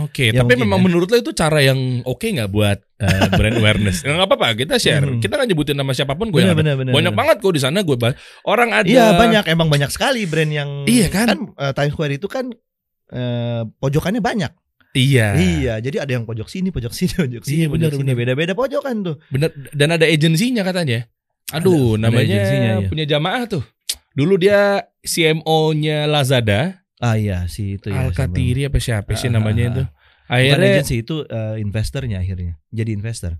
Speaker 1: Oke,
Speaker 2: Ya,
Speaker 1: tapi
Speaker 2: mungkin
Speaker 1: memang
Speaker 2: ya.
Speaker 1: menurut lo itu cara yang oke nggak buat eh, brand
Speaker 2: [LAUGHS]
Speaker 1: awareness? Nggak apa-apa, kita share.
Speaker 2: Hmm.
Speaker 1: Kita nggak nyebutin nama siapapun gue.
Speaker 2: Benar
Speaker 1: yang ada.
Speaker 2: benar benar.
Speaker 1: Banyak
Speaker 2: benar.
Speaker 1: banget kok di sana gue bahas. Orang ada.
Speaker 2: Iya, banyak emang banyak sekali brand yang
Speaker 1: Iya kan?
Speaker 2: eh, Times Square itu kan eh, pojokannya banyak.
Speaker 1: Iya.
Speaker 2: Iya, jadi ada yang pojok sini, pojok sini, [LAUGHS] pojok
Speaker 1: Iya,
Speaker 2: sini, pojok
Speaker 1: benar,
Speaker 2: sini,
Speaker 1: benar.
Speaker 2: beda-beda pojokan tuh.
Speaker 1: Bener. Dan ada agensinya katanya. Aduh,
Speaker 2: Ada- ada
Speaker 1: namanya
Speaker 2: agensinya, iya.
Speaker 1: punya jamaah tuh. Dulu dia CMO-nya Lazada,
Speaker 2: Ah iya, si itu ya.
Speaker 1: Alkatiri apa siapa sih
Speaker 2: Ah,
Speaker 1: namanya
Speaker 2: ah,
Speaker 1: itu.
Speaker 2: ah. Bukan
Speaker 1: Akhirnya
Speaker 2: agency itu eh, investornya akhirnya. Jadi investor.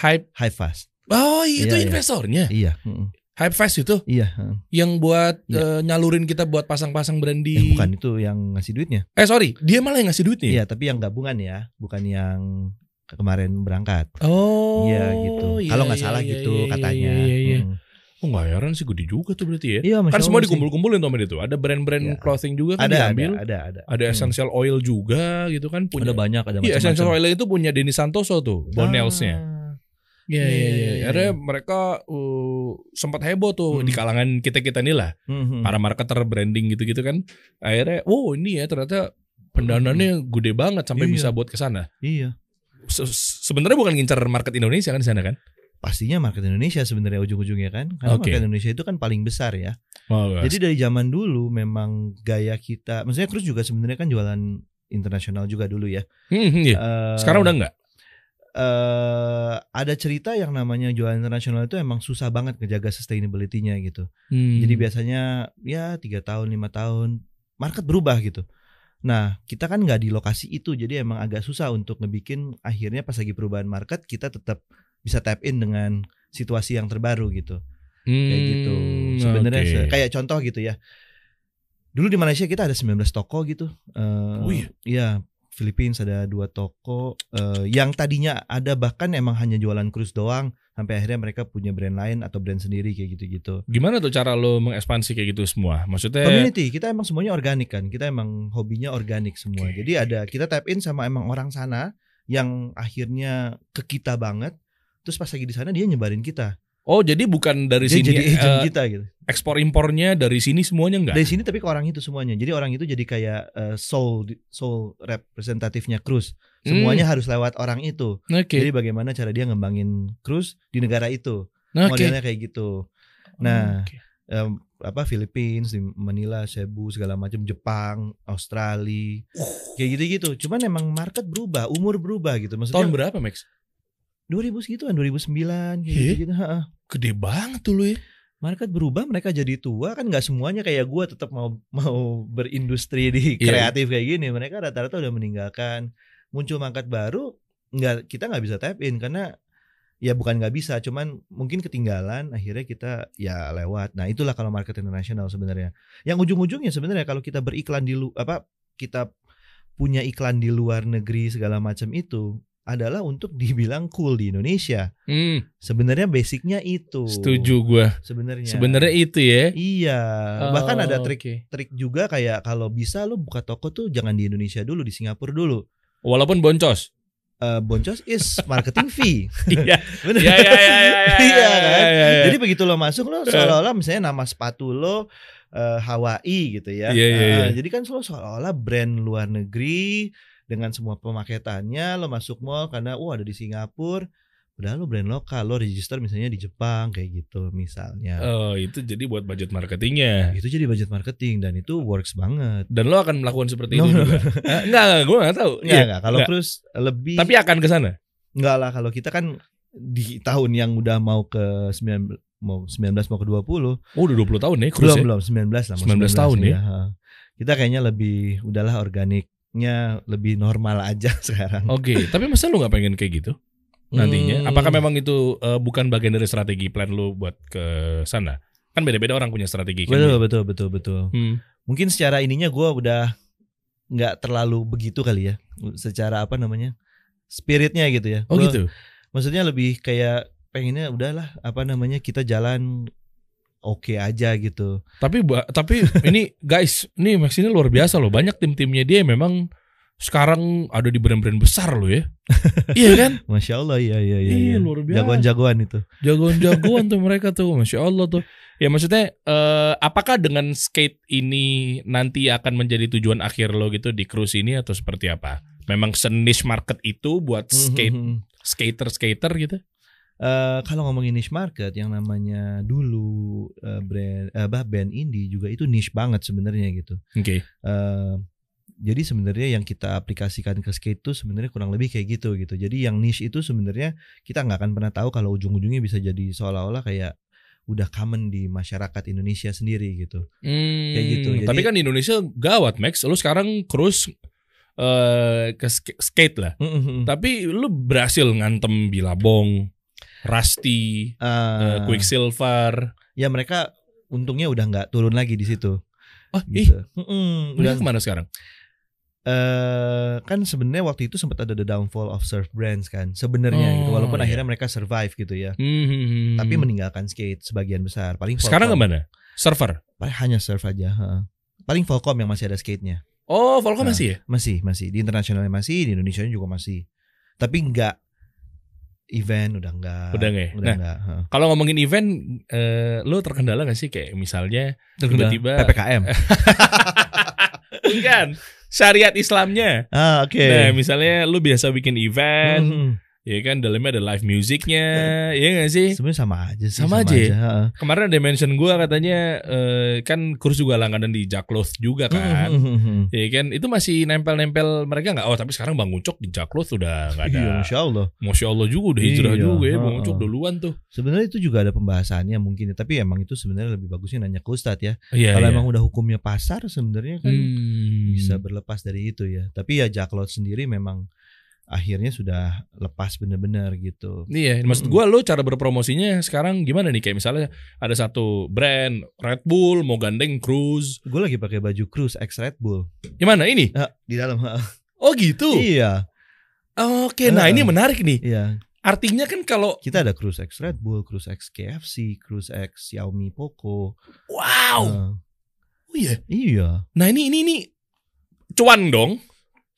Speaker 1: hype.
Speaker 2: High fast.
Speaker 1: Oh, itu
Speaker 2: Iya, iya.
Speaker 1: investornya.
Speaker 2: Iya, mm,
Speaker 1: Hype Fest itu
Speaker 2: Iya, heeh.
Speaker 1: yang buat
Speaker 2: Iya.
Speaker 1: eh, nyalurin kita buat pasang-pasang brand
Speaker 2: Eh,
Speaker 1: di.
Speaker 2: bukan itu yang ngasih duitnya.
Speaker 1: Eh sorry, dia malah yang ngasih duitnya.
Speaker 2: Iya, tapi yang gabungan ya, bukan yang ke- kemarin berangkat.
Speaker 1: Oh.
Speaker 2: Iya gitu. Kalau nggak salah gitu katanya.
Speaker 1: Iya, iya, iya.
Speaker 2: Mm.
Speaker 1: Oh, nggak heran sih gede juga tuh berarti ya.
Speaker 2: Iya, Masya
Speaker 1: kan
Speaker 2: Allah
Speaker 1: semua
Speaker 2: sih.
Speaker 1: dikumpul-kumpulin tuh itu. Ada brand-brand
Speaker 2: Iya.
Speaker 1: clothing juga kan
Speaker 2: Ada, ada,
Speaker 1: diambil. Ada,
Speaker 2: ada, ada.
Speaker 1: essential oil juga gitu kan punya.
Speaker 2: Ada banyak, ada
Speaker 1: Iya, essential
Speaker 2: macam-macam.
Speaker 1: oil itu punya Denny Santoso tuh, Bonells-nya.
Speaker 2: Ah.
Speaker 1: Iya,
Speaker 2: iya,
Speaker 1: iya,
Speaker 2: iya,
Speaker 1: iya.
Speaker 2: iya.
Speaker 1: Akhirnya mereka uh, sempat heboh tuh
Speaker 2: Hmm.
Speaker 1: di kalangan kita-kita nih lah,
Speaker 2: Mhm.
Speaker 1: para marketer branding gitu-gitu kan. Akhirnya, oh ini ya ternyata pendanaannya gede banget sampai
Speaker 2: Iya.
Speaker 1: bisa buat ke sana.
Speaker 2: Iya.
Speaker 1: Se- se- Sebenarnya bukan ngincer market Indonesia kan di sana kan?
Speaker 2: Pastinya market Indonesia sebenarnya ujung-ujungnya kan. Karena
Speaker 1: Oke.
Speaker 2: market Indonesia itu kan paling besar ya.
Speaker 1: Oh,
Speaker 2: Jadi dari zaman dulu memang gaya kita, maksudnya Cruz juga sebenarnya kan jualan internasional juga dulu ya.
Speaker 1: Hmm, hmm, iya.
Speaker 2: Eh,
Speaker 1: Sekarang udah enggak?
Speaker 2: eh, ada cerita yang namanya jualan internasional itu emang susah banget ngejaga sustainability-nya gitu.
Speaker 1: Hmm.
Speaker 2: Jadi biasanya ya tiga tahun lima tahun market berubah gitu. Nah kita kan nggak di lokasi itu, jadi emang agak susah untuk ngebikin akhirnya pas lagi perubahan market kita tetap bisa tap in dengan situasi yang terbaru gitu,
Speaker 1: Hmm,
Speaker 2: kayak gitu. Sebenarnya se- kayak contoh gitu ya. Dulu di Malaysia kita ada 19 toko gitu. Eh,
Speaker 1: Oh iya?
Speaker 2: Iya. Philippines ada dua toko eh, yang tadinya ada bahkan emang hanya jualan cruise doang sampai akhirnya mereka punya brand lain atau brand sendiri kayak gitu-gitu.
Speaker 1: gimana tuh cara lo mengekspansi kayak gitu semua? Maksudnya
Speaker 2: Community kita emang semuanya organik kan. Kita emang hobinya organik semua.
Speaker 1: Oke.
Speaker 2: Jadi ada kita tap in sama emang orang sana yang akhirnya ke kita banget. Terus pas lagi di sana dia nyebarin kita.
Speaker 1: oh jadi bukan dari
Speaker 2: Dia
Speaker 1: sini
Speaker 2: jadi agent
Speaker 1: eh,
Speaker 2: kita gitu.
Speaker 1: ekspor impornya dari sini semuanya enggak?
Speaker 2: Dari sini tapi ke orang itu semuanya. Jadi orang itu jadi kayak eh, soul soul representatifnya cruise. Semuanya harus lewat orang itu.
Speaker 1: Hmm, Oke.
Speaker 2: Jadi bagaimana cara dia ngembangin cruise di negara itu.
Speaker 1: Oke. Hmm.
Speaker 2: Modelnya kayak gitu. Nah,
Speaker 1: Oke.
Speaker 2: em, apa Philippines, di Manila, Cebu segala macam, Jepang, Australia, kayak gitu-gitu. Cuman emang market berubah, umur berubah gitu.
Speaker 1: tahun
Speaker 2: Maksudnya
Speaker 1: berapa Max?
Speaker 2: 2000 segituan, 2009 kayak
Speaker 1: Iya.
Speaker 2: gitu.
Speaker 1: Gede banget tuh lo ya.
Speaker 2: Market berubah, mereka jadi tua kan nggak semuanya kayak gua tetap mau [LAUGHS] mau berindustri di
Speaker 1: Iya.
Speaker 2: kreatif kayak gini. Mereka rata-rata udah meninggalkan muncul market baru nggak kita nggak bisa tap in karena ya bukan nggak bisa cuman mungkin ketinggalan akhirnya kita ya lewat nah itulah kalau market internasional sebenarnya yang ujung-ujungnya sebenarnya kalau kita beriklan di lu apa kita punya iklan di luar negeri segala macam itu adalah untuk dibilang cool di Indonesia.
Speaker 1: Hmm,
Speaker 2: Sebenarnya basicnya itu.
Speaker 1: setuju gua.
Speaker 2: Sebenarnya.
Speaker 1: Sebenarnya itu ya.
Speaker 2: Iya. Bahkan
Speaker 1: Oh,
Speaker 2: ada trik
Speaker 1: oke.
Speaker 2: trik juga kayak kalau bisa lu buka toko tuh jangan di Indonesia dulu di Singapura dulu.
Speaker 1: Walaupun
Speaker 2: [LAUGHS]
Speaker 1: boncos.
Speaker 2: Eh, boncos is marketing fee.
Speaker 1: [LAUGHS] Iya.
Speaker 2: Bener.
Speaker 1: Iya iya iya
Speaker 2: [LAUGHS] Iya kan?
Speaker 1: iya, Eh. iya.
Speaker 2: Jadi begitu lo masuk lo seolah-olah misalnya nama sepatu lo eh, Hawaii gitu ya.
Speaker 1: Iya, iya,
Speaker 2: Nah,
Speaker 1: iya.
Speaker 2: Jadi kan lo seolah-olah brand luar negeri dengan semua pemaketannya lo masuk mall karena wah ada di Singapura. Padahal lo brand lokal lo register misalnya di Jepang kayak gitu misalnya.
Speaker 1: Oh, itu jadi buat budget marketingnya.
Speaker 2: Itu jadi budget marketing dan itu works banget.
Speaker 1: Dan lo akan melakukan seperti itu
Speaker 2: No, no,
Speaker 1: juga. Eh, Enggak, enggak, gue enggak tahu.
Speaker 2: Iya
Speaker 1: Iya.
Speaker 2: enggak kalau
Speaker 1: Nggak.
Speaker 2: Cruz lebih
Speaker 1: Tapi akan ke sana.
Speaker 2: enggak lah kalau kita kan di tahun yang udah mau ke 19 mau 19 mau ke 20
Speaker 1: Oh, udah 20 tahun ya, cruise
Speaker 2: belum
Speaker 1: ya?
Speaker 2: belum 19 lah mau
Speaker 1: 19 tahun ya.
Speaker 2: ha. kita kayaknya lebih udahlah organiknya lebih normal aja [LAUGHS] sekarang
Speaker 1: Oke, tapi masa lu nggak pengen kayak gitu Oh, nantinya?
Speaker 2: Hmm,
Speaker 1: Apakah memang itu eh, bukan bagian dari strategi plan lu buat ke sana? Kan beda-beda orang punya strategi. kan?
Speaker 2: betul betul betul betul
Speaker 1: Hmm.
Speaker 2: mungkin secara ininya gua udah nggak terlalu begitu kali ya secara apa namanya spiritnya gitu ya
Speaker 1: Oh
Speaker 2: Gua-
Speaker 1: gitu.
Speaker 2: maksudnya lebih kayak pengennya udahlah apa namanya kita jalan oke aja gitu
Speaker 1: Tapi ba- tapi [LAUGHS] ini guys, ini Max ini luar biasa loh. Banyak tim-timnya dia yang memang sekarang ada di brand-brand besar loh
Speaker 2: [LAUGHS]
Speaker 1: ya. iya kan?
Speaker 2: masya allah iya iya iya,
Speaker 1: Iya,
Speaker 2: iya.
Speaker 1: luar biasa.
Speaker 2: jagoan-jagoan itu
Speaker 1: Jagoan-jagoan tuh mereka tuh, masya Allah tuh. Ya maksudnya, eh, apakah dengan skate ini nanti akan menjadi tujuan akhir lo gitu di cruise ini atau seperti apa? Memang senis market itu buat skate
Speaker 2: Mhm.
Speaker 1: skater skater gitu?
Speaker 2: Eh, kalau ngomongin niche market yang namanya dulu eh, brand eh, bah band indie juga itu niche banget sebenarnya gitu.
Speaker 1: Oke.
Speaker 2: Eh, jadi sebenarnya yang kita aplikasikan ke skate itu sebenarnya kurang lebih kayak gitu gitu. Jadi yang niche itu sebenarnya kita nggak akan pernah tahu kalau ujung-ujungnya bisa jadi seolah-olah kayak udah common di masyarakat Indonesia sendiri gitu.
Speaker 1: Hmm,
Speaker 2: Kayak gitu, jadi-
Speaker 1: Tapi kan di Indonesia gawat Max. Lo sekarang cruise eh, ke sk- skate lah.
Speaker 2: Eh,
Speaker 1: Tapi lu berhasil ngantem Bilabong, Rusty, eh,
Speaker 2: Eh,
Speaker 1: Quicksilver.
Speaker 2: ya mereka untungnya udah nggak turun lagi di situ.
Speaker 1: Oh, ih,
Speaker 2: Gitu. Mm-mm,
Speaker 1: udah
Speaker 2: udah
Speaker 1: kemana sekarang?
Speaker 2: eh kan sebenarnya waktu itu sempat ada the downfall of surf brands kan sebenarnya gitu
Speaker 1: Oh,
Speaker 2: walaupun
Speaker 1: iya.
Speaker 2: akhirnya mereka survive gitu ya
Speaker 1: Hmm.
Speaker 2: tapi meninggalkan skate sebagian besar paling
Speaker 1: sekarang
Speaker 2: Volcom,
Speaker 1: kemana? Server.
Speaker 2: paling hanya surf aja ha. paling Volcom yang masih ada skate-nya
Speaker 1: Oh, Volcom
Speaker 2: Nah.
Speaker 1: masih ya?
Speaker 2: masih masih di internasionalnya masih di Indonesia juga masih tapi enggak event udah enggak
Speaker 1: Udah nggak ya?
Speaker 2: udah
Speaker 1: Nah,
Speaker 2: enggak ha.
Speaker 1: Kalau ngomongin event, eh, lo terkendala gak sih kayak misalnya tiba-tiba [LAUGHS]
Speaker 2: ppkm
Speaker 1: kan syariat Islamnya.
Speaker 2: ah oke
Speaker 1: Nah, misalnya lu biasa bikin event,
Speaker 2: Mhm.
Speaker 1: ya
Speaker 2: Iya.
Speaker 1: kan dalamnya ada live musicnya, ya gak sih?
Speaker 2: sebenarnya sama aja sih
Speaker 1: Sama aja ya?
Speaker 2: ha.
Speaker 1: Kemarin ada mention gue katanya eh, kan kurs juga langganan di Jakloth juga
Speaker 2: [LAUGHS]
Speaker 1: kan.
Speaker 2: Mhm.
Speaker 1: Ya kan itu masih nempel-nempel mereka nggak? Oh tapi sekarang Bang Ucok di Jaklo sudah nggak ada.
Speaker 2: iya masya Allah
Speaker 1: Masya Allah juga udah hijrah
Speaker 2: Iya,
Speaker 1: juga ya Bang
Speaker 2: ha-ha.
Speaker 1: Ucok duluan tuh.
Speaker 2: Sebenarnya itu juga ada pembahasannya mungkin ya, tapi emang itu sebenarnya lebih bagusnya nanya ke Ustadz ya.
Speaker 1: Iya.
Speaker 2: Kalau
Speaker 1: iya.
Speaker 2: emang udah hukumnya pasar sebenarnya kan
Speaker 1: Hmm.
Speaker 2: bisa berlepas dari itu ya. Tapi ya Jaklot sendiri memang akhirnya sudah lepas bener-bener gitu.
Speaker 1: Iya, maksud gue lo cara berpromosinya sekarang gimana nih? Kayak misalnya ada satu brand Red Bull mau gandeng Cruise,
Speaker 2: Gue lagi pakai baju Cruise X Red Bull
Speaker 1: gimana ini?
Speaker 2: di dalam. [LAUGHS]
Speaker 1: Oh gitu.
Speaker 2: iya,
Speaker 1: Oke, nah
Speaker 2: Ha-ha.
Speaker 1: ini menarik nih.
Speaker 2: iya.
Speaker 1: Artinya kan kalau
Speaker 2: Kita ada Cruise X Red Bull, Cruise X KFC, Cruise X Xiaomi Poco.
Speaker 1: wow,
Speaker 2: Nah,
Speaker 1: oh iya.
Speaker 2: iya,
Speaker 1: Nah ini ini ini cuan dong.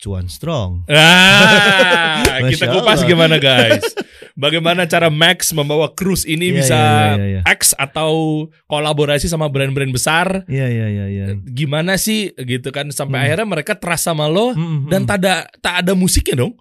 Speaker 2: cuan strong. [LAUGHS]
Speaker 1: Ah,
Speaker 2: Masya
Speaker 1: kita kupas
Speaker 2: Allah.
Speaker 1: gimana
Speaker 2: [LAUGHS]
Speaker 1: guys? Bagaimana cara Max membawa cruise ini
Speaker 2: Iya,
Speaker 1: bisa
Speaker 2: iya, iya, iya.
Speaker 1: X atau kolaborasi sama brand-brand besar?
Speaker 2: Iya, iya, iya, iya.
Speaker 1: Gimana sih gitu kan sampai
Speaker 2: Hmm.
Speaker 1: akhirnya mereka trust sama lo
Speaker 2: Mm, mm,
Speaker 1: dan
Speaker 2: mm.
Speaker 1: tak ada tak ada musiknya dong?